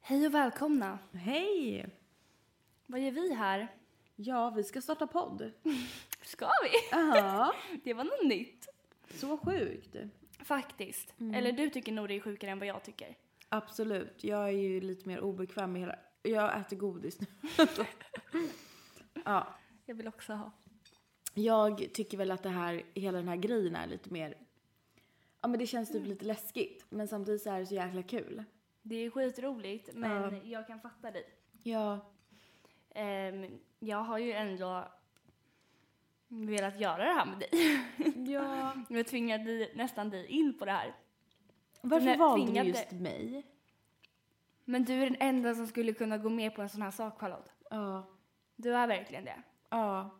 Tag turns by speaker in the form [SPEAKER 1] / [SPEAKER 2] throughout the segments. [SPEAKER 1] Hej och välkomna.
[SPEAKER 2] Hej!
[SPEAKER 1] Vad gör vi här?
[SPEAKER 2] Ja, vi ska starta podd.
[SPEAKER 1] Ska vi?
[SPEAKER 2] Ja,
[SPEAKER 1] Det var något nytt.
[SPEAKER 2] så sjukt.
[SPEAKER 1] Faktiskt. Eller du tycker nog det är sjukare än vad jag tycker.
[SPEAKER 2] Absolut. Jag är ju lite mer obekväm med hela... Jag äter godis nu. ja.
[SPEAKER 1] Jag vill också ha.
[SPEAKER 2] Jag tycker väl att det här, hela den här grejen är lite mer... Ja, men det känns typ lite läskigt. Men samtidigt så är det så jäkla kul.
[SPEAKER 1] Det är skitroligt, men
[SPEAKER 2] Ja.
[SPEAKER 1] jag kan fatta dig.
[SPEAKER 2] Ja.
[SPEAKER 1] Ehm, jag har ju ändå velat göra det här med dig.
[SPEAKER 2] Ja.
[SPEAKER 1] Jag tvingade dig- nästan dig in på det här.
[SPEAKER 2] Varför
[SPEAKER 1] Nej,
[SPEAKER 2] valde
[SPEAKER 1] tvingade.
[SPEAKER 2] du just mig?
[SPEAKER 1] Men du är den enda som skulle kunna gå med på en sån här sak, Charlotte.
[SPEAKER 2] Ja.
[SPEAKER 1] Du är verkligen det.
[SPEAKER 2] Ja.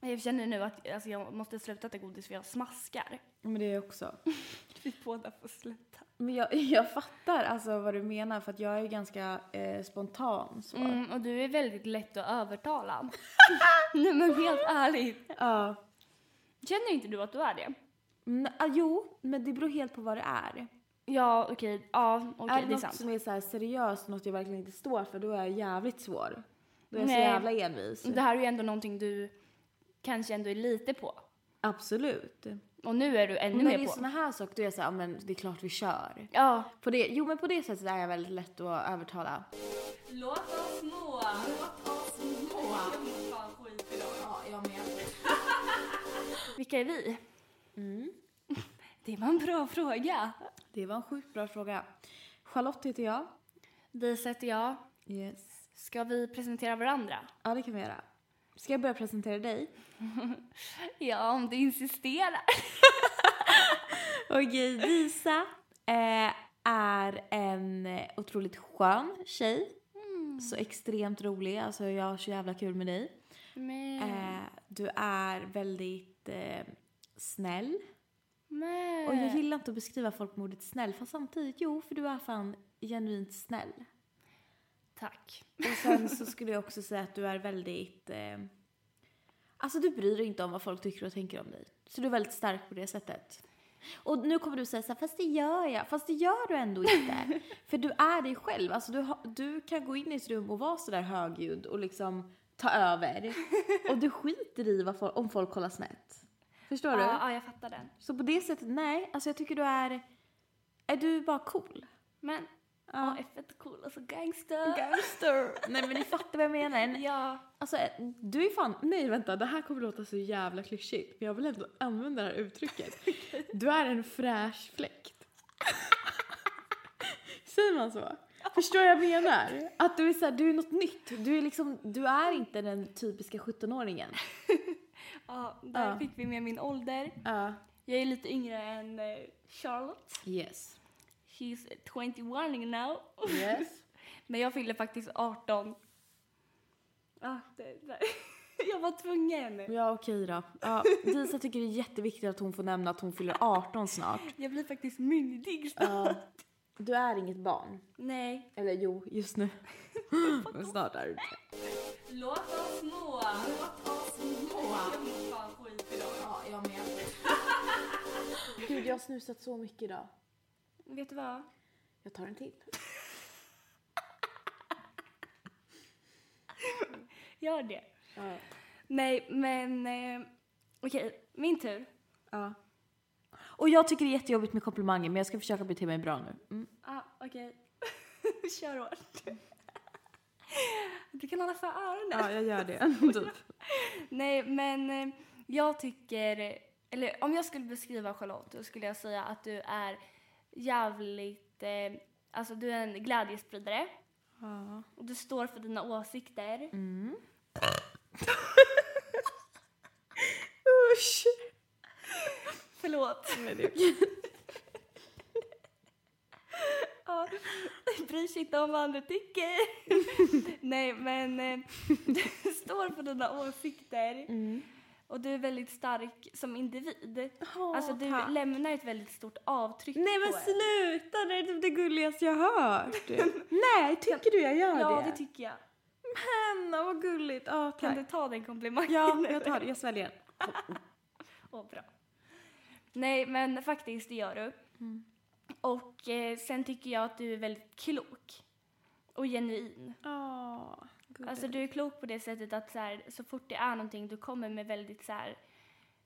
[SPEAKER 1] Jag känner nu att alltså, jag måste sluta äta godis för jag smaskar.
[SPEAKER 2] Men det är jag också.
[SPEAKER 1] Vi båda får sluta.
[SPEAKER 2] Men jag, jag fattar alltså vad du menar för att jag är ju ganska eh, spontan så.
[SPEAKER 1] Mm, och du är väldigt lätt att övertala. Nej men helt ärligt.
[SPEAKER 2] Ja.
[SPEAKER 1] Känner inte du att du är det?
[SPEAKER 2] Mm, ah, jo, men det beror helt på vad det är.
[SPEAKER 1] Ja okej, ja okej
[SPEAKER 2] är
[SPEAKER 1] det
[SPEAKER 2] det,
[SPEAKER 1] är
[SPEAKER 2] något
[SPEAKER 1] sant.
[SPEAKER 2] som är så här seriöst, något jag verkligen inte står för, då är jag jävligt svår. Då är jag
[SPEAKER 1] Nej.
[SPEAKER 2] så jävla envis.
[SPEAKER 1] Det här är ju ändå någonting du kanske ändå är lite på.
[SPEAKER 2] Absolut.
[SPEAKER 1] Och nu är du ännu
[SPEAKER 2] Men
[SPEAKER 1] mer
[SPEAKER 2] i
[SPEAKER 1] på.
[SPEAKER 2] sådana här saker, då är jag så här, "Ja, men det är klart vi kör.
[SPEAKER 1] Ja.
[SPEAKER 2] På det, jo, men på det sättet är jag väldigt lätt att övertala.
[SPEAKER 1] Låt oss må. Låt oss må.
[SPEAKER 2] Ja, jag med.
[SPEAKER 1] Vilka är vi? Mm. Det var en bra fråga.
[SPEAKER 2] Det var en sjukt bra fråga. Charlotte heter jag.
[SPEAKER 1] Dis heter jag.
[SPEAKER 2] Yes.
[SPEAKER 1] Ska vi presentera varandra?
[SPEAKER 2] Ja, det kan vi göra. Ska jag börja presentera dig?
[SPEAKER 1] Ja, om du insisterar.
[SPEAKER 2] Okej, Lisa eh, är en eh, otroligt skön tjej. Så extremt rolig. Alltså jag har så jävla kul med dig.
[SPEAKER 1] Men,
[SPEAKER 2] Eh, du är väldigt eh, snäll.
[SPEAKER 1] men.
[SPEAKER 2] Och jag gillar inte att beskriva folk med ordet snäll. Fast samtidigt, jo, för du är fan genuint snäll.
[SPEAKER 1] Tack.
[SPEAKER 2] Och sen så skulle jag också säga att du är väldigt... Eh, alltså du bryr dig inte om vad folk tycker och tänker om dig. Så du är väldigt stark på det sättet. Och nu kommer du säga så här, fast det gör jag. Fast det gör du ändå inte. För du är dig själv. Alltså du, har- du kan gå in i ett rum och vara sådär högljudd och liksom ta över. Och du skiter i vad folk, om folk kollar snett. Förstår
[SPEAKER 1] Ja,
[SPEAKER 2] du?
[SPEAKER 1] ja, jag fattar den.
[SPEAKER 2] Så på det sättet, nej. Alltså jag tycker du är... Är du bara cool?
[SPEAKER 1] Men, ja,
[SPEAKER 2] Ja.
[SPEAKER 1] är fett cool. Alltså gangster.
[SPEAKER 2] Gangster! Nej men ni fattar vad jag menar. En
[SPEAKER 1] ja.
[SPEAKER 2] Alltså du är fan, nej vänta det här kommer låta så jävla klyschigt men jag vill ändå använda det här uttrycket. Du är en fräsch fläkt. Säger man så? Förstår jag vad jag menar? Att du är så här, du är något nytt. Du är liksom, du är inte den typiska 17-åringen.
[SPEAKER 1] ja, där
[SPEAKER 2] Ja.
[SPEAKER 1] fick vi med min ålder.
[SPEAKER 2] Ja.
[SPEAKER 1] Jag är lite yngre än eh, Charlotte.
[SPEAKER 2] yes.
[SPEAKER 1] She's 21 now.
[SPEAKER 2] Yes.
[SPEAKER 1] Men jag fyller faktiskt 18.
[SPEAKER 2] Ah.
[SPEAKER 1] Ja, det, det. Jag var tvungen.
[SPEAKER 2] Ja okej då. Ja, Disa tycker det är jätteviktigt att hon får nämna att hon fyller 18 snart.
[SPEAKER 1] Jag blir faktiskt myndig snart.
[SPEAKER 2] Ja. Du är inget barn.
[SPEAKER 1] Nej.
[SPEAKER 2] Eller jo, just nu. Men snart är du det.
[SPEAKER 1] Låt oss må. Låt oss må. Jag mår fan skit idag.
[SPEAKER 2] Ja, jag med. Gud, jag har snusat så mycket idag.
[SPEAKER 1] Vet du vad?
[SPEAKER 2] Jag tar en till.
[SPEAKER 1] Gör det.
[SPEAKER 2] Ja.
[SPEAKER 1] Nej, men eh, okej, min tur.
[SPEAKER 2] Och jag tycker det är jättejobbigt med komplimanger, men jag ska försöka bete mig bra nu. Mm.
[SPEAKER 1] Ah, okej. Kör hårt. Du kan hålla för öronen.
[SPEAKER 2] jag gör det. typ.
[SPEAKER 1] Nej, men eh, jag tycker... Eller om jag skulle beskriva Charlotte då skulle jag säga att du är jävligt... Eh, alltså, du är en glädjespridare.
[SPEAKER 2] Ja.
[SPEAKER 1] Och du står för dina åsikter.
[SPEAKER 2] Mm. Usch!
[SPEAKER 1] Förlåt.
[SPEAKER 2] Nej, det är okej.
[SPEAKER 1] Ja, bryr sig inte om vad andra tycker. Nej, men eh, du står för dina åsikter.
[SPEAKER 2] Mm.
[SPEAKER 1] Och du är väldigt stark som individ. Alltså du
[SPEAKER 2] tack.
[SPEAKER 1] lämnar ett väldigt stort avtryck
[SPEAKER 2] Nej men
[SPEAKER 1] på en.
[SPEAKER 2] sluta, det är typ det gulligaste jag har hört. Nej, tycker du jag gör
[SPEAKER 1] Ja,
[SPEAKER 2] det?
[SPEAKER 1] det tycker jag.
[SPEAKER 2] Anna, vad gulligt. Ja,
[SPEAKER 1] Kan
[SPEAKER 2] tack.
[SPEAKER 1] du ta den komplimangen?
[SPEAKER 2] Ja, jag tar det. Jag sväljer. Mm.
[SPEAKER 1] Åh, bra. Nej, men faktiskt, det gör du. Och eh, sen tycker jag att du är väldigt klok och genuin.
[SPEAKER 2] Åh,
[SPEAKER 1] Alltså du är klok på det sättet att så, här, så fort det är någonting du kommer med väldigt så här,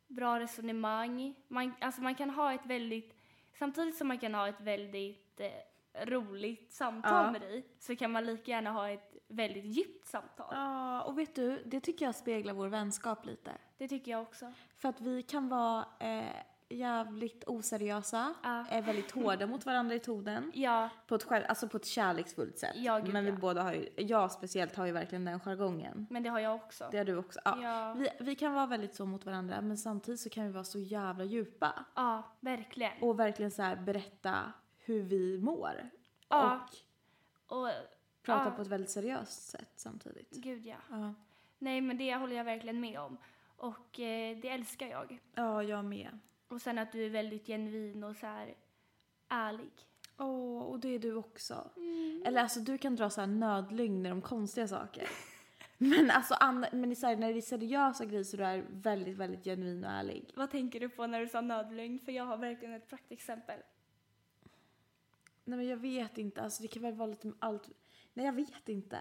[SPEAKER 1] bra resonemang. Man, alltså man kan ha ett väldigt, samtidigt som man kan ha ett väldigt eh, roligt samtal
[SPEAKER 2] Ja.
[SPEAKER 1] med dig så kan man lika gärna ha ett väldigt djupt samtal.
[SPEAKER 2] Ja, och vet du, det tycker jag speglar vår vänskap lite.
[SPEAKER 1] Det tycker jag också.
[SPEAKER 2] För att vi kan vara eh, jävligt oseriösa,
[SPEAKER 1] Ja.
[SPEAKER 2] är väldigt hårda mot varandra i tonen.
[SPEAKER 1] Ja,
[SPEAKER 2] På ett, själ- alltså på ett kärleksfullt sätt.
[SPEAKER 1] Ja, gud,
[SPEAKER 2] Men vi
[SPEAKER 1] ja.
[SPEAKER 2] båda har ju, jag speciellt har ju verkligen den jargongen.
[SPEAKER 1] men det har jag också.
[SPEAKER 2] Det har du också. Ja.
[SPEAKER 1] Ja.
[SPEAKER 2] Vi, vi kan vara väldigt så mot varandra men samtidigt så kan vi vara så jävla djupa.
[SPEAKER 1] Ja, verkligen.
[SPEAKER 2] Och verkligen så här berätta hur vi mår.
[SPEAKER 1] Ja.
[SPEAKER 2] Och
[SPEAKER 1] Och
[SPEAKER 2] prata
[SPEAKER 1] Ja.
[SPEAKER 2] på ett väldigt seriöst sätt samtidigt.
[SPEAKER 1] gud ja.
[SPEAKER 2] Ja,
[SPEAKER 1] Nej, men det håller jag verkligen med om. Och eh, det älskar jag.
[SPEAKER 2] ja jag med.
[SPEAKER 1] Och sen att du är väldigt genuin och så här ärlig.
[SPEAKER 2] Åh, och det är du också.
[SPEAKER 1] Mm.
[SPEAKER 2] Eller alltså du kan dra så här nödlögner om konstiga saker. men alltså an- men i så här, när det är seriösa grejer så är du är väldigt, väldigt genuin och ärlig.
[SPEAKER 1] Vad tänker du på när du sa nödlögn? För jag har verkligen ett praktexempel.
[SPEAKER 2] Nej men jag vet inte, alltså det kan väl vara lite med allt. Nej jag vet inte.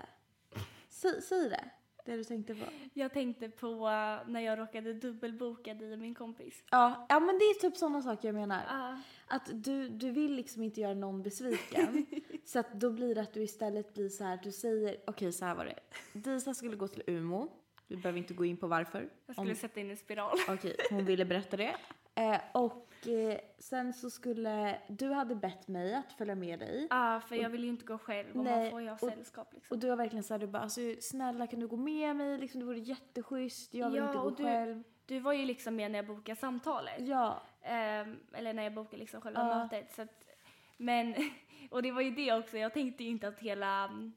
[SPEAKER 2] Säg, säg det, det du tänkte på.
[SPEAKER 1] Jag tänkte på eh, när jag råkade dubbelboka dig och min kompis.
[SPEAKER 2] Ja, ja men det är typ sådana saker jag menar.
[SPEAKER 1] Ja,
[SPEAKER 2] Att du, du vill liksom inte göra någon besviken. så att då blir det att du istället blir så här att du säger, okej så här var det. Disa skulle gå till Umo. Du behöver inte gå in på varför.
[SPEAKER 1] jag skulle
[SPEAKER 2] Om-
[SPEAKER 1] sätta in en spiral.
[SPEAKER 2] Okej, hon ville berätta det. Eh, och eh, sen så skulle, du hade bett mig att följa med dig.
[SPEAKER 1] Ja, för jag vill ju inte gå själv och
[SPEAKER 2] Nej,
[SPEAKER 1] man får ju ha
[SPEAKER 2] och-
[SPEAKER 1] sällskap liksom.
[SPEAKER 2] Och du var verkligen såhär, du bara alltså, snälla kan du gå med mig? Liksom, det vore jätteschysst, jag vill
[SPEAKER 1] Ja,
[SPEAKER 2] inte gå
[SPEAKER 1] och du-
[SPEAKER 2] själv.
[SPEAKER 1] Du var ju liksom med när jag bokade samtalet.
[SPEAKER 2] Ja,
[SPEAKER 1] Ehm, eller när jag bokade liksom själva
[SPEAKER 2] Ja.
[SPEAKER 1] mötet. Så att, men, och det var ju det också, jag tänkte ju inte att hela mm,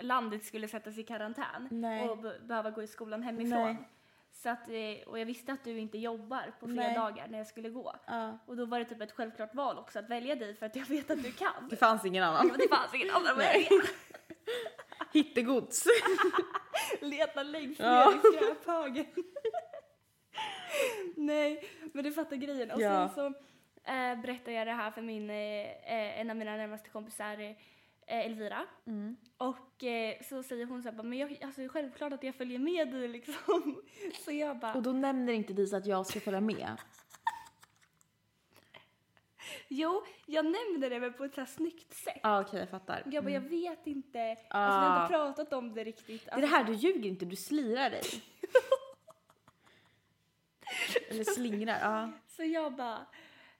[SPEAKER 1] landet skulle sättas i karantän
[SPEAKER 2] Nej.
[SPEAKER 1] och be- behöva gå i skolan hemifrån.
[SPEAKER 2] Nej.
[SPEAKER 1] Så att, eh, och jag visste att du inte jobbar på
[SPEAKER 2] Nej.
[SPEAKER 1] fredagar när jag skulle gå.
[SPEAKER 2] ja.
[SPEAKER 1] Och då var det typ ett självklart val också att välja dig för att jag vet att du kan.
[SPEAKER 2] Det fanns ingen annan.
[SPEAKER 1] Men det fanns ingen annan
[SPEAKER 2] Nej.
[SPEAKER 1] väg.
[SPEAKER 2] Hittegods.
[SPEAKER 1] Leta längst
[SPEAKER 2] Ja.
[SPEAKER 1] ner i skräphögen. Nej, men du fattar grejen. Och
[SPEAKER 2] Ja.
[SPEAKER 1] sen så eh, berättade jag det här för min, eh, eh, en av mina närmaste kompisar, eh, Elvira.
[SPEAKER 2] Mm.
[SPEAKER 1] Och eh, så säger hon så här, bara, men jag, alltså, det är självklart att jag följer med dig liksom. Så jag bara,
[SPEAKER 2] Och då nämner inte Disa att jag ska följa med.
[SPEAKER 1] jo, jag nämnde det men på ett så här snyggt sätt.
[SPEAKER 2] Ja okej jag fattar.
[SPEAKER 1] Jag bara, jag vet inte.
[SPEAKER 2] Mm. Ah.
[SPEAKER 1] Alltså vi har inte pratat om det riktigt.
[SPEAKER 2] Det är det här, du ljuger inte, du slirar dig. Eller slingrar, ja.
[SPEAKER 1] Så jag bara,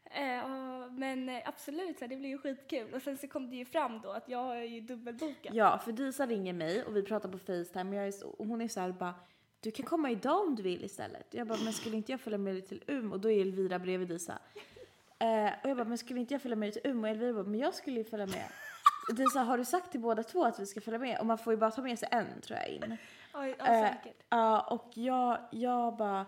[SPEAKER 1] eh, ja, men eh, absolut, så här, det blir ju skitkul. Och sen så kom det ju fram då att jag har ju dubbelbokat.
[SPEAKER 2] Ja, för Disa ringer mig och vi pratar på Facetime och, jag är så, och hon är så här bara du kan komma idag om du vill istället. Jag bara, men skulle inte jag följa med dig till Umeå? Och då är Elvira bredvid Disa. Eh, och jag bara, men skulle inte jag följa med dig till Umeå? Och Elvira bara, men jag skulle ju följa med. Och Disa, har du sagt till båda två att vi ska följa med? Och man får ju bara ta med sig en tror jag in.
[SPEAKER 1] Ja, ja,
[SPEAKER 2] Eh,
[SPEAKER 1] säkert.
[SPEAKER 2] Ja, och jag, jag bara...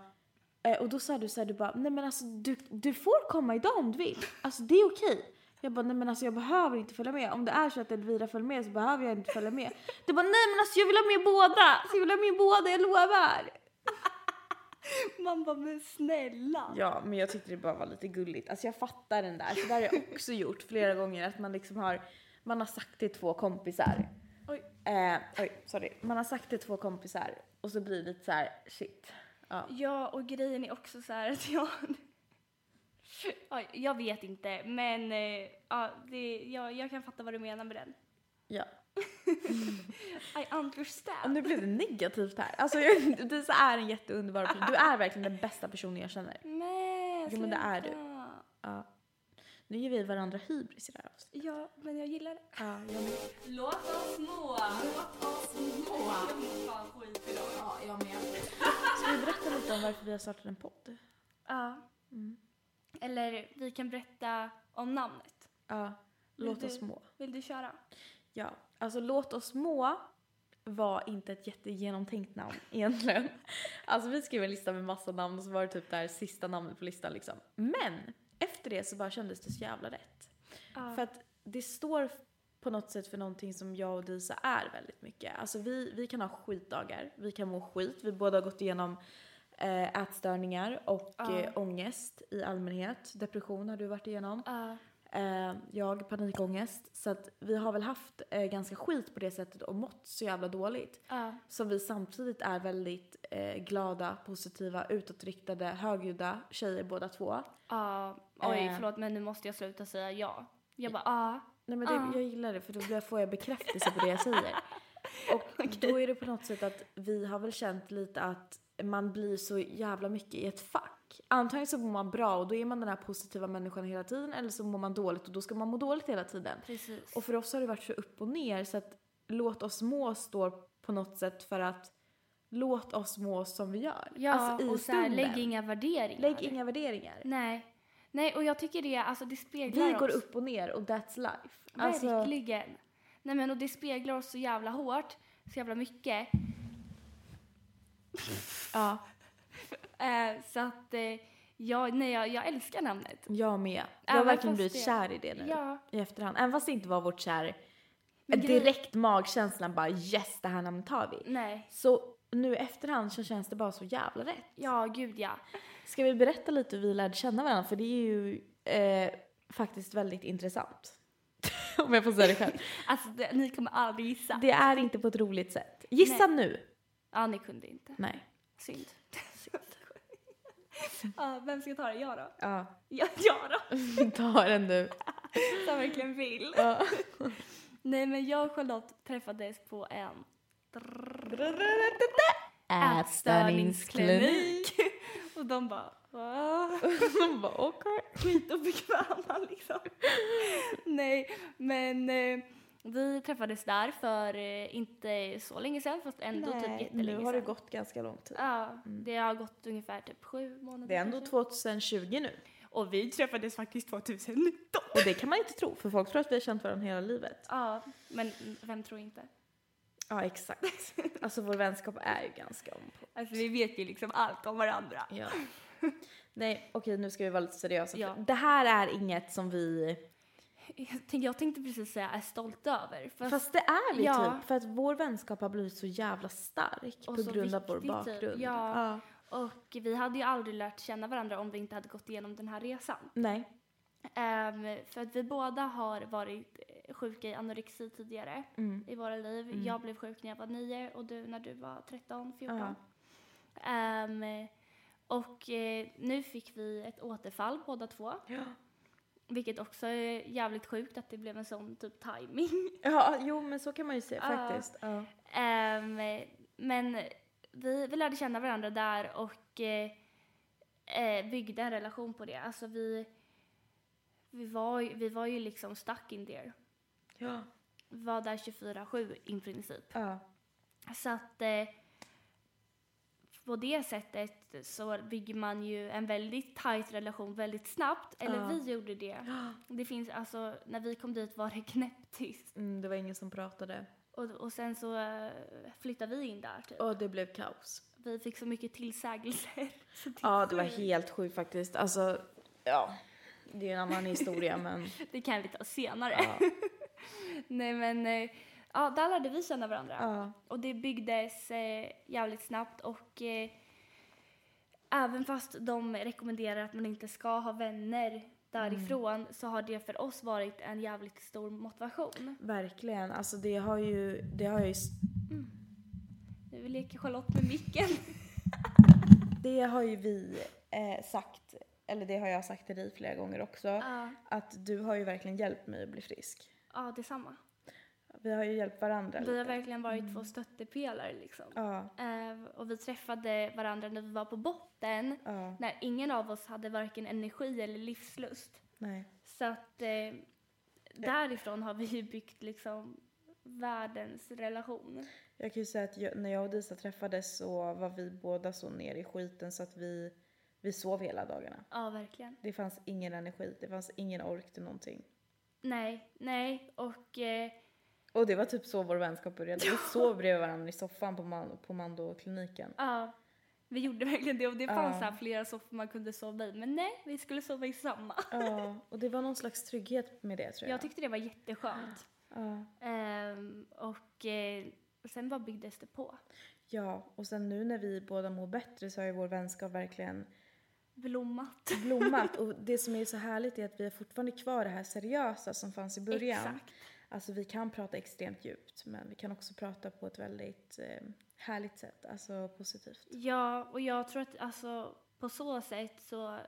[SPEAKER 2] eh, Och då sa du så här, du bara, nej men alltså du, du får komma idag om du vill. Alltså det är okej. Jag bara, nej men alltså jag behöver inte följa med. Om det är så att Elvira följer med så behöver jag inte följa med. Du bara, nej men alltså jag vill ha med båda! Så jag vill ha med båda, jag lovar!
[SPEAKER 1] Man bara, men snälla.
[SPEAKER 2] Ja, men jag tyckte det bara var lite gulligt. Alltså jag fattar den där. Så där har jag också gjort flera gånger att man liksom har, man har sagt till två kompisar.
[SPEAKER 1] Oj.
[SPEAKER 2] Eh, oj, sorry. Man har sagt till två kompisar och så blir det lite så här, shit. Ja.
[SPEAKER 1] Ja, och grejen är också så här att jag... Ja, jag vet inte, men eh, ja, det, jag, jag kan fatta vad du menar med den.
[SPEAKER 2] Ja.
[SPEAKER 1] I understand.
[SPEAKER 2] Nu blev det negativt här. Alltså, jag, du så är en jätteunderbar person. Du är verkligen den bästa personen jag känner.
[SPEAKER 1] Men,
[SPEAKER 2] Jo, men det är du.
[SPEAKER 1] sluta.
[SPEAKER 2] Ja. Nu ger vi varandra hybris i det här avsnittet.
[SPEAKER 1] Ja, men jag gillar det.
[SPEAKER 2] Ja, jag med.
[SPEAKER 1] Låt oss må. Låt oss må. Jag mår fan skit idag.
[SPEAKER 2] Ja, jag med. Ska vi berätta lite om varför vi har startat en podd?
[SPEAKER 1] Ja.
[SPEAKER 2] Mm.
[SPEAKER 1] Eller vi kan berätta om namnet.
[SPEAKER 2] Ja. Låt
[SPEAKER 1] Vill
[SPEAKER 2] oss
[SPEAKER 1] du-
[SPEAKER 2] må.
[SPEAKER 1] Vill du köra?
[SPEAKER 2] Ja. Alltså, låt oss må var inte ett jättegenomtänkt namn egentligen. Alltså vi skrev en lista med massa namn och så var det typ det här sista namnet på listan liksom. Men efter det så bara kändes det så jävla rätt.
[SPEAKER 1] Ja.
[SPEAKER 2] För att det står på något sätt för någonting som jag och Disa är väldigt mycket. Alltså vi, vi kan ha skitdagar, vi kan må skit. Vi båda har gått igenom eh, ätstörningar och
[SPEAKER 1] Ja.
[SPEAKER 2] eh, ångest i allmänhet. Depression har du varit igenom.
[SPEAKER 1] Ja.
[SPEAKER 2] Eh, jag har panikångest. Så att vi har väl haft eh, ganska skit på det sättet och mått så jävla dåligt.
[SPEAKER 1] Ja.
[SPEAKER 2] Som vi samtidigt är väldigt eh, glada, positiva, utåtriktade, högljudda tjejer båda två.
[SPEAKER 1] Ja. Oj,
[SPEAKER 2] Eh.
[SPEAKER 1] förlåt men nu måste jag sluta säga ja. Jag bara ja.
[SPEAKER 2] Nej men det,
[SPEAKER 1] Ah.
[SPEAKER 2] jag gillar det för då blir- får jag bekräftelse på det jag säger. Och då är det på något sätt att vi har väl känt lite att man blir så jävla mycket i ett fack. Antagligen så mår man bra och då är man den här positiva människan hela tiden eller så mår man dåligt och då ska man må dåligt hela tiden.
[SPEAKER 1] Precis.
[SPEAKER 2] Och för oss har det varit så upp och ner så att låt oss må står på något sätt för att låt oss må som vi gör.
[SPEAKER 1] ja,
[SPEAKER 2] alltså i
[SPEAKER 1] och så här,
[SPEAKER 2] stunden.
[SPEAKER 1] lägg inga värderingar.
[SPEAKER 2] lägg inga värderingar.
[SPEAKER 1] Nej. Nej, och jag tycker det, alltså det speglar
[SPEAKER 2] Vi
[SPEAKER 1] oss.
[SPEAKER 2] går upp och ner och that's life. Alltså,
[SPEAKER 1] Verkligen. Nej men och det speglar oss så jävla hårt, så jävla mycket.
[SPEAKER 2] ja,
[SPEAKER 1] Eh, så att eh, jag, nej, jag, jag älskar namnet.
[SPEAKER 2] jag med. Jag har
[SPEAKER 1] Även
[SPEAKER 2] verkligen
[SPEAKER 1] fast
[SPEAKER 2] blivit
[SPEAKER 1] det-
[SPEAKER 2] kär i det nu.
[SPEAKER 1] Ja.
[SPEAKER 2] I efterhand. Även fast det inte var vårt kär.
[SPEAKER 1] Men grej-
[SPEAKER 2] Direkt magkänslan bara yes det här namnet tar vi.
[SPEAKER 1] Nej.
[SPEAKER 2] Så nu i efterhand så känns det bara så jävla rätt.
[SPEAKER 1] Ja, gud ja.
[SPEAKER 2] Ska vi berätta lite hur vi lärde känna varandra? För det är ju eh, faktiskt väldigt intressant. Om jag får säga det själv.
[SPEAKER 1] Alltså det, ni kommer aldrig gissa.
[SPEAKER 2] Det är inte på ett roligt sätt. Gissa nu!
[SPEAKER 1] Ja, ni kunde inte.
[SPEAKER 2] Nej.
[SPEAKER 1] Synd. ja, vem ska ta det? Jag då?
[SPEAKER 2] Ja.
[SPEAKER 1] Ja, jag då?
[SPEAKER 2] Vi tar den nu.
[SPEAKER 1] Som verkligen vill.
[SPEAKER 2] Ja.
[SPEAKER 1] Nej men jag och Charlotte träffades på en och de bara "Va?"
[SPEAKER 2] Vad awkward.
[SPEAKER 1] skitobekväma liksom. Nej, men eh, vi träffades där för eh, inte så länge sedan fast ändå typ jättelänge
[SPEAKER 2] nu har det
[SPEAKER 1] sedan.
[SPEAKER 2] gått ganska lång tid.
[SPEAKER 1] Ja, det har gått ungefär typ sju månader.
[SPEAKER 2] Det är ändå
[SPEAKER 1] kanske.
[SPEAKER 2] 2020 nu.
[SPEAKER 1] Och vi träffades faktiskt 2019.
[SPEAKER 2] Och det kan man inte tro, för folk tror att vi har känt varandra hela livet.
[SPEAKER 1] Ja, men mm, vem tror inte?
[SPEAKER 2] Ja, exakt. Alltså vår vänskap är ju ganska om
[SPEAKER 1] Alltså vi vet ju liksom allt om varandra.
[SPEAKER 2] Ja. Nej, okej nu ska vi vara lite seriösa.
[SPEAKER 1] Ja.
[SPEAKER 2] Det här är inget som vi...
[SPEAKER 1] Jag tänkte, jag tänkte precis säga är stolt över. Fast,
[SPEAKER 2] Fast det är vi
[SPEAKER 1] Ja.
[SPEAKER 2] typ, för att vår vänskap har blivit så jävla stark
[SPEAKER 1] Och
[SPEAKER 2] på
[SPEAKER 1] så
[SPEAKER 2] grund av vår
[SPEAKER 1] viktig, typ.
[SPEAKER 2] bakgrund.
[SPEAKER 1] Ja. och vi hade ju aldrig lärt känna varandra om vi inte hade gått igenom den här resan.
[SPEAKER 2] Nej.
[SPEAKER 1] Ehm, för att vi båda har varit eh, sjuka i anorexi tidigare
[SPEAKER 2] Mm.
[SPEAKER 1] i våra liv.
[SPEAKER 2] Mm.
[SPEAKER 1] Jag blev sjuk när jag var nio och du när du var 13, 14.
[SPEAKER 2] Ja.
[SPEAKER 1] Ehm, och eh, nu fick vi ett återfall båda två,
[SPEAKER 2] Ja.
[SPEAKER 1] vilket också är jävligt sjukt att det blev en sån typ timing.
[SPEAKER 2] ja, jo men så kan man ju säga
[SPEAKER 1] Ja.
[SPEAKER 2] faktiskt. Ja.
[SPEAKER 1] Ehm, men vi, vi lärde känna varandra där och eh, eh, byggde en relation på det. Alltså vi, vi, var, ju- vi var ju liksom stuck in there.
[SPEAKER 2] Ja.
[SPEAKER 1] var där 24-7 i princip.
[SPEAKER 2] ja.
[SPEAKER 1] Så att eh, på det sättet så bygger man ju en väldigt tajt relation väldigt snabbt. Eller
[SPEAKER 2] Ja.
[SPEAKER 1] vi gjorde det. Det finns alltså, när vi kom dit var det knäpptyst.
[SPEAKER 2] Mm, det var ingen som pratade.
[SPEAKER 1] Och, och sen så eh, flyttade vi in där typ.
[SPEAKER 2] Och det blev kaos.
[SPEAKER 1] Vi fick så mycket tillsägelser. Så det,
[SPEAKER 2] Ja, det var helt sjukt faktiskt. Alltså, ja. Det är ju en annan historia men...
[SPEAKER 1] det kan vi ta senare.
[SPEAKER 2] Ja.
[SPEAKER 1] Nej men, eh, ja där lärde vi känna varandra.
[SPEAKER 2] ja.
[SPEAKER 1] Och det byggdes eh, jävligt snabbt och eh, även fast de rekommenderar att man inte ska ha vänner därifrån så har det för oss varit en jävligt stor motivation.
[SPEAKER 2] Verkligen. Alltså det har ju... Det har ju
[SPEAKER 1] Nu leker Charlotte med micken.
[SPEAKER 2] Det har ju vi eh, sagt, eller det har jag sagt till dig flera gånger också,
[SPEAKER 1] Ja,
[SPEAKER 2] att du har ju verkligen hjälpt mig att bli frisk.
[SPEAKER 1] ja detsamma.
[SPEAKER 2] Vi har ju hjälpt varandra
[SPEAKER 1] Vi har
[SPEAKER 2] lite.
[SPEAKER 1] verkligen varit två stöttepelare liksom.
[SPEAKER 2] Ja,
[SPEAKER 1] Eh, och vi träffade varandra när vi var på botten
[SPEAKER 2] ja,
[SPEAKER 1] när ingen av oss hade varken energi eller livslust.
[SPEAKER 2] nej.
[SPEAKER 1] Så att eh, därifrån har vi ju byggt liksom världens relation.
[SPEAKER 2] Jag kan ju säga att jag, när jag och Disa träffades så var vi båda så ner i skiten så att vi, vi sov hela dagarna.
[SPEAKER 1] Ja, verkligen.
[SPEAKER 2] Det fanns ingen energi, det fanns ingen ork till någonting.
[SPEAKER 1] Nej, nej och eh,
[SPEAKER 2] Och det var typ så vår vänskap började. Vi sov bredvid varandra i soffan på, man, på Mando-kliniken.
[SPEAKER 1] ja, vi gjorde verkligen det och det
[SPEAKER 2] Ja.
[SPEAKER 1] fanns här flera soffor man kunde sova i men nej, vi skulle sova i samma.
[SPEAKER 2] Ja, och det var någon slags trygghet med det tror jag.
[SPEAKER 1] Jag tyckte det var jätteskönt.
[SPEAKER 2] ja.
[SPEAKER 1] Ehm, och eh, sen bara byggdes det på.
[SPEAKER 2] Ja, och sen nu när vi båda mår bättre så har ju vår vänskap verkligen
[SPEAKER 1] blommat.
[SPEAKER 2] blommat. Och det som är så härligt är att vi har fortfarande kvar det här seriösa som fanns i början.
[SPEAKER 1] Exakt.
[SPEAKER 2] Alltså vi kan prata extremt djupt men vi kan också prata på ett väldigt eh, härligt sätt, alltså positivt.
[SPEAKER 1] Ja, och jag tror att alltså, på så sätt så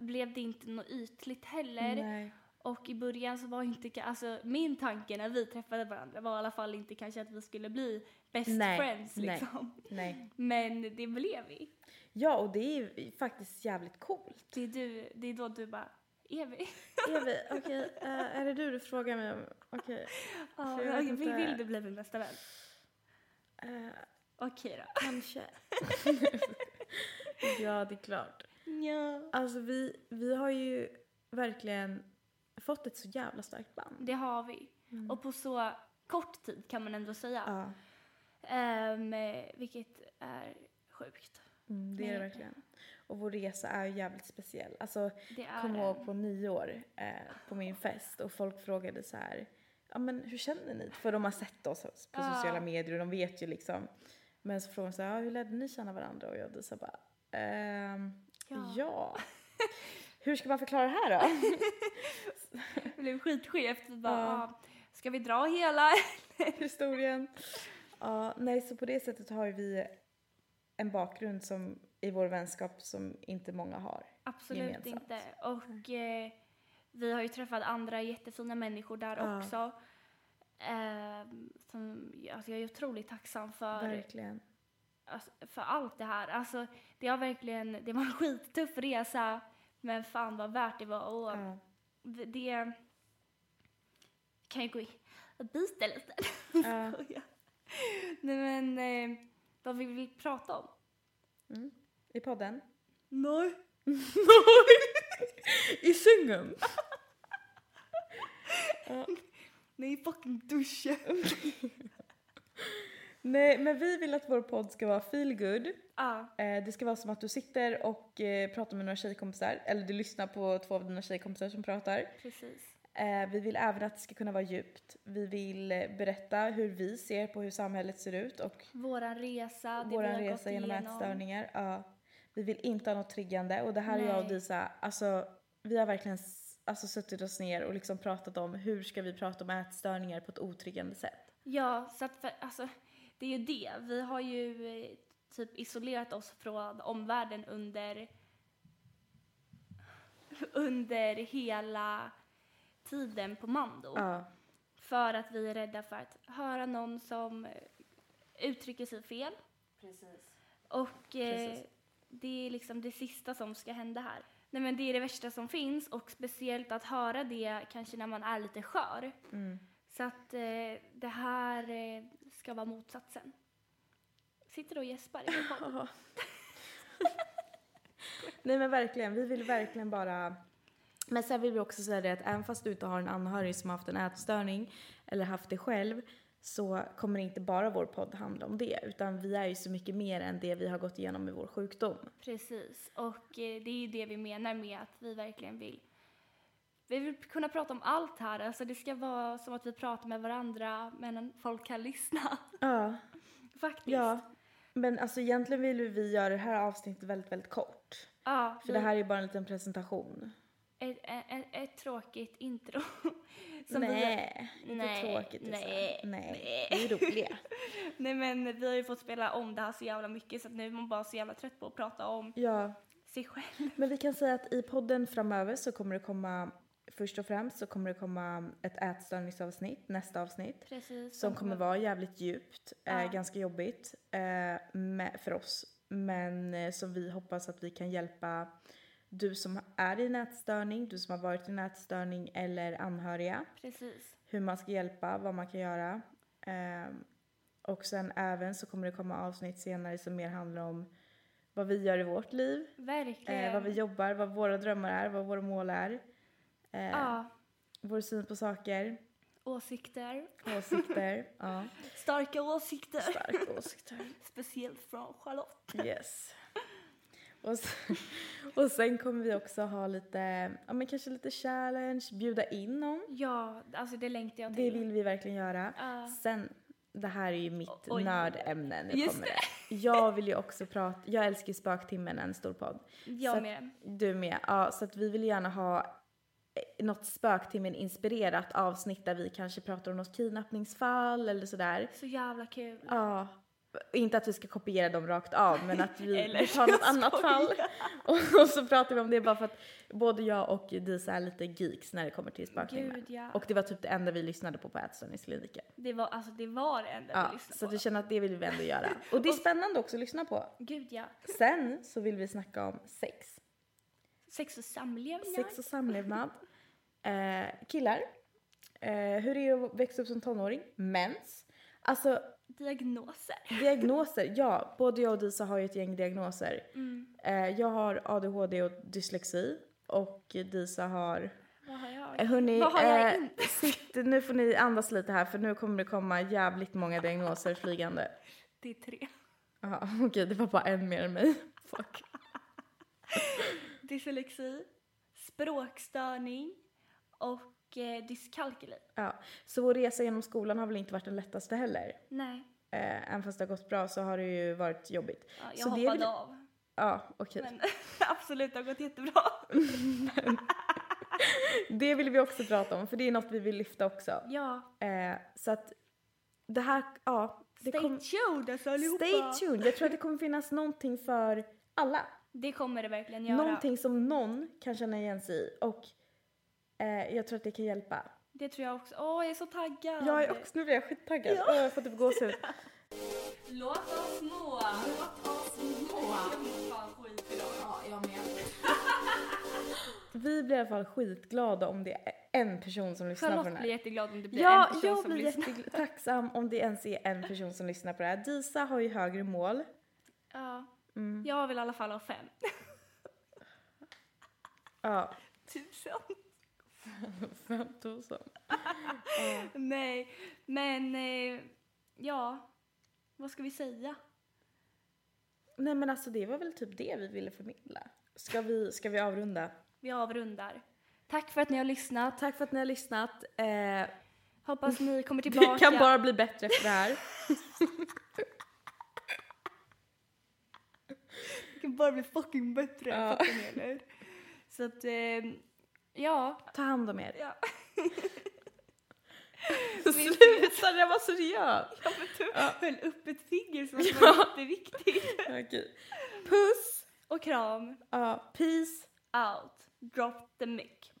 [SPEAKER 1] blev det inte något ytligt heller.
[SPEAKER 2] Nej.
[SPEAKER 1] Och i början så var inte, ka- alltså min tanke när vi träffade varandra var i alla fall inte kanske att vi skulle bli best
[SPEAKER 2] Nej,
[SPEAKER 1] friends
[SPEAKER 2] nej.
[SPEAKER 1] liksom.
[SPEAKER 2] Nej.
[SPEAKER 1] Men det blev vi.
[SPEAKER 2] Ja, och det är ju faktiskt jävligt coolt.
[SPEAKER 1] Det är, du, det är då du bara, är vi?
[SPEAKER 2] Evi, okej, eh, är det du du frågar mig om? Okej.
[SPEAKER 1] Ja,
[SPEAKER 2] jag vet
[SPEAKER 1] vi
[SPEAKER 2] inte.
[SPEAKER 1] vill du bli min bästa vän?
[SPEAKER 2] eh,
[SPEAKER 1] Okej då.
[SPEAKER 2] kanske. ja, det är klart.
[SPEAKER 1] Ja.
[SPEAKER 2] Alltså vi, vi har ju verkligen fått ett så jävla starkt band.
[SPEAKER 1] Det har vi. Och på så kort tid kan man ändå säga.
[SPEAKER 2] Mm. Ja,
[SPEAKER 1] Ehm, vilket är sjukt.
[SPEAKER 2] mm, det är det
[SPEAKER 1] Men-
[SPEAKER 2] verkligen. Och vår resa är ju jävligt speciell. Alltså,
[SPEAKER 1] Det är
[SPEAKER 2] kom
[SPEAKER 1] en-
[SPEAKER 2] ihåg på nyår eh, på min fest och folk frågade så här, ja men hur känner ni? För de har sett oss på
[SPEAKER 1] Ja.
[SPEAKER 2] sociala medier och de vet ju liksom. Men så frågade de så här, ja, hur lärde ni känna varandra? Och jag och så bara, ehm, ja.
[SPEAKER 1] Ja.
[SPEAKER 2] Hur ska man förklara det här då?
[SPEAKER 1] Det blev skitskevt. Vi bara,
[SPEAKER 2] Ja.
[SPEAKER 1] ah, ska vi dra hela?
[SPEAKER 2] historien. Ja, nej, så på det sättet har ju vi en bakgrund som, i vår vänskap som inte många har.
[SPEAKER 1] Absolut
[SPEAKER 2] Gemensamt.
[SPEAKER 1] inte. Och eh, vi har ju träffat andra jättefina människor där
[SPEAKER 2] Ja.
[SPEAKER 1] också. Ehm, som, alltså jag är otroligt tacksam för,
[SPEAKER 2] Verkligen.
[SPEAKER 1] alltså, för allt det här. Alltså, det, har verkligen, det var en skittuff resa, men fan vad värt det var. Och
[SPEAKER 2] Ja.
[SPEAKER 1] v- det kan ju gå i bita lite.
[SPEAKER 2] Ja.
[SPEAKER 1] Skoja. Nej men, eh, vad vill vi prata om?
[SPEAKER 2] Mm. I podden.
[SPEAKER 1] Nej.
[SPEAKER 2] I sängen.
[SPEAKER 1] Nej, fucking duscha.
[SPEAKER 2] Nej, men vi vill att vår podd ska vara feel good.
[SPEAKER 1] Ja,
[SPEAKER 2] Eh, det ska vara som att du sitter och eh, pratar med några tjejkompisar, eller du lyssnar på två av dina tjejkompisar som pratar.
[SPEAKER 1] precis.
[SPEAKER 2] Eh, vi vill även att det ska kunna vara djupt. Vi vill eh, berätta hur vi ser på hur samhället ser ut och
[SPEAKER 1] Våran resa, det
[SPEAKER 2] vår
[SPEAKER 1] vi har
[SPEAKER 2] resa
[SPEAKER 1] gått
[SPEAKER 2] genom
[SPEAKER 1] igenom.
[SPEAKER 2] ätstörningar. Ja. Vi vill inte ha något triggande och det här är jag och
[SPEAKER 1] Nej.
[SPEAKER 2] Disa, alltså vi har verkligen s- alltså, suttit oss ner och liksom pratat om hur ska vi prata om ätstörningar på ett otriggande sätt.
[SPEAKER 1] Ja, så att för, alltså, det är ju det. Vi har ju eh, typ isolerat oss från omvärlden under under hela tiden på Mando.
[SPEAKER 2] Ja,
[SPEAKER 1] För att vi är rädda för att höra någon som eh, uttrycker sig fel.
[SPEAKER 3] Precis.
[SPEAKER 1] Och eh,
[SPEAKER 2] Precis.
[SPEAKER 1] det är liksom det sista som ska hända här. Nej men det är det värsta som finns och speciellt att höra det kanske när man är lite skör.
[SPEAKER 2] mm.
[SPEAKER 1] Så att eh, det här eh, ska vara motsatsen. Sitter du och gäspar i vår podd?
[SPEAKER 2] Nej men verkligen, vi vill verkligen bara men sen vill vi också säga det att även fast du inte har en anhörig som har haft en ätstörning eller haft det själv så kommer inte bara vår podd handla om det utan vi är ju så mycket mer än det vi har gått igenom med vår sjukdom.
[SPEAKER 1] Precis, och eh, det är ju det vi menar med att vi verkligen vill. Vi vill kunna prata om allt här, alltså det ska vara som att vi pratar med varandra men folk kan lyssna.
[SPEAKER 2] Ja,
[SPEAKER 1] Faktiskt.
[SPEAKER 2] Ja, men alltså egentligen vill ju vi göra det här avsnittet väldigt, väldigt kort.
[SPEAKER 1] Ja,
[SPEAKER 2] För det här är ju bara en liten presentation.
[SPEAKER 1] ett, ett, ett tråkigt intro. Som
[SPEAKER 2] nej,
[SPEAKER 1] vi,
[SPEAKER 2] det är tråkigt. Lisa.
[SPEAKER 1] nej,
[SPEAKER 2] nej.
[SPEAKER 1] nej.
[SPEAKER 2] Vi är roliga.
[SPEAKER 1] Nej men vi har ju fått spela om det här så jävla mycket så att nu är man bara så jävla trött på att prata om
[SPEAKER 2] Ja,
[SPEAKER 1] sig själv.
[SPEAKER 2] men vi kan säga att i podden framöver så kommer det komma, först och främst så kommer det komma ett ätstörningsavsnitt, nästa avsnitt.
[SPEAKER 1] Precis.
[SPEAKER 2] Som kommer vara jävligt djupt,
[SPEAKER 1] Mm. Ja.
[SPEAKER 2] eh, ganska jobbigt eh, med, för oss. Men eh, som vi hoppas att vi kan hjälpa du som är i nätstörning, du som har varit i nätstörning eller anhöriga.
[SPEAKER 1] Precis.
[SPEAKER 2] Hur man ska hjälpa, vad man kan göra. Ehm, och sen även så kommer det komma avsnitt senare som mer handlar om vad vi gör i vårt liv.
[SPEAKER 1] Verkligen.
[SPEAKER 2] Eh, vad vi jobbar, vad våra drömmar är, vad våra mål är. Eh,
[SPEAKER 1] Ja,
[SPEAKER 2] Vår syn på saker,
[SPEAKER 1] åsikter.
[SPEAKER 2] åsikter. ja,
[SPEAKER 1] Starka åsikter.
[SPEAKER 2] starka åsikter.
[SPEAKER 1] Speciellt från Charlotte.
[SPEAKER 2] Yes. Och sen, och sen kommer vi också ha lite, ja men kanske lite challenge, bjuda in någon.
[SPEAKER 1] Ja, alltså det längtar jag till.
[SPEAKER 2] Det vill vi verkligen göra.
[SPEAKER 1] Ja.
[SPEAKER 2] Sen det här är ju mitt
[SPEAKER 1] Oj.
[SPEAKER 2] nördämne. Nu
[SPEAKER 4] Just
[SPEAKER 2] kommer det. Jag vill ju också prata, jag älskar ju Spöktimmen, en stor podd.
[SPEAKER 1] Jag
[SPEAKER 2] Så-
[SPEAKER 1] med.
[SPEAKER 2] Du med. Ja, så att vi vill gärna ha eh, något Spöktimmen-inspirerat avsnitt där vi kanske pratar om något kidnappningsfall eller sådär.
[SPEAKER 1] Så jävla kul.
[SPEAKER 2] Ja. Inte att vi ska kopiera dem rakt av men att vi
[SPEAKER 1] Eller,
[SPEAKER 2] vi tar något
[SPEAKER 1] jag
[SPEAKER 2] annat
[SPEAKER 1] skojar.
[SPEAKER 2] fall och, och så pratar vi om det bara för att både jag och Disa är lite geeks när det kommer till Spöktimmen.
[SPEAKER 1] Gud ja.
[SPEAKER 2] Och det var typ det enda vi lyssnade på på ätstörningskliniken.
[SPEAKER 1] Det var, alltså, det var det enda vi
[SPEAKER 2] Ja,
[SPEAKER 1] lyssnade
[SPEAKER 2] så
[SPEAKER 1] på.
[SPEAKER 2] att vi känner att det vill vi ändå göra. Och det är spännande också att lyssna på.
[SPEAKER 1] Gud ja.
[SPEAKER 2] Sen så vill vi snacka om sex.
[SPEAKER 1] Sex och samlevnad.
[SPEAKER 2] Sex och samlevnad. Eh, killar. Eh, hur är det att växa upp som tonåring? Mens. Alltså
[SPEAKER 1] Diagnoser.
[SPEAKER 2] diagnoser, ja. Både jag och Disa har ju ett gäng diagnoser.
[SPEAKER 1] Mm.
[SPEAKER 2] Eh, jag har ADHD och dyslexi. Och Disa har...
[SPEAKER 1] Vad har jag?
[SPEAKER 2] Eh, hörni,
[SPEAKER 1] Vad har jag
[SPEAKER 2] eh,
[SPEAKER 1] inte?
[SPEAKER 2] sitt, nu får ni andas lite här för nu kommer det komma jävligt många diagnoser flygande.
[SPEAKER 1] Det är tre.
[SPEAKER 2] Ja, okej, det var bara en mer än mig. Fuck.
[SPEAKER 1] Dyslexi, språkstörning och eh, dyskalkyli.
[SPEAKER 2] Ja. Så vår resa genom skolan har väl inte varit den lättaste heller.
[SPEAKER 1] Nej,
[SPEAKER 2] Eh, även fast det har gått bra så har det ju varit jobbigt.
[SPEAKER 1] ja, jag
[SPEAKER 2] Så det är
[SPEAKER 1] hoppade
[SPEAKER 2] väl-
[SPEAKER 1] av.
[SPEAKER 2] Ja, okej.
[SPEAKER 1] Men absolut, det har gått jättebra.
[SPEAKER 2] Det vill vi också prata om, för det är något vi vill lyfta också.
[SPEAKER 1] Ja,
[SPEAKER 2] Eh, så att det här, ja. Det
[SPEAKER 1] stay
[SPEAKER 2] kom,
[SPEAKER 1] tuned alltså allihopa.
[SPEAKER 2] stay tuned! Jag tror att det kommer finnas någonting för alla.
[SPEAKER 1] Det kommer det verkligen göra.
[SPEAKER 2] Någonting som någon kan känna igen sig i och eh, jag tror att det kan hjälpa.
[SPEAKER 1] Det tror jag också. Åh, jag är så taggad.
[SPEAKER 2] Jag är också, nu blir jag skittaggad. Åh, jag får typ gåshud.
[SPEAKER 5] Låt oss må. Låt oss må. Jag mår fan skit idag. Ja, jag med.
[SPEAKER 2] Vi blir i alla fall skitglada om det är en person som lyssnar på den
[SPEAKER 1] Charlotte
[SPEAKER 2] här.
[SPEAKER 1] blir jätteglad om det blir
[SPEAKER 2] ja,
[SPEAKER 1] en person
[SPEAKER 2] jag
[SPEAKER 1] som
[SPEAKER 2] blir
[SPEAKER 1] lyssnar.
[SPEAKER 2] jättetacksam om det ens är en person som lyssnar på det här. Disa har ju högre mål.
[SPEAKER 1] Ja.
[SPEAKER 2] Mm.
[SPEAKER 1] Jag vill i alla fall ha fem.
[SPEAKER 2] Ja.
[SPEAKER 1] Tusen.
[SPEAKER 2] 5000.
[SPEAKER 1] Nej, men eh, ja, vad ska vi säga?
[SPEAKER 2] Nej men alltså det var väl typ det vi ville förmedla. Ska vi, ska vi avrunda?
[SPEAKER 1] Vi avrundar. Tack för att ni har lyssnat.
[SPEAKER 2] Tack för att ni har lyssnat. Eh,
[SPEAKER 1] Hoppas ni kommer tillbaka.
[SPEAKER 2] det kan bara bli bättre efter det här.
[SPEAKER 1] Det kan bara bli fucking bättre.
[SPEAKER 2] Ja.
[SPEAKER 1] Fattar ni eller? Så att, eh, ja.
[SPEAKER 2] Ta hand om er.
[SPEAKER 1] ja.
[SPEAKER 2] Sluta, jag var seriös.
[SPEAKER 1] Ja, men du höll upp ett finger som att det
[SPEAKER 2] Ja.
[SPEAKER 1] var jätteviktigt.
[SPEAKER 2] Okej. Puss!
[SPEAKER 1] Och kram.
[SPEAKER 2] Ja, peace.
[SPEAKER 1] Out. Drop the mic.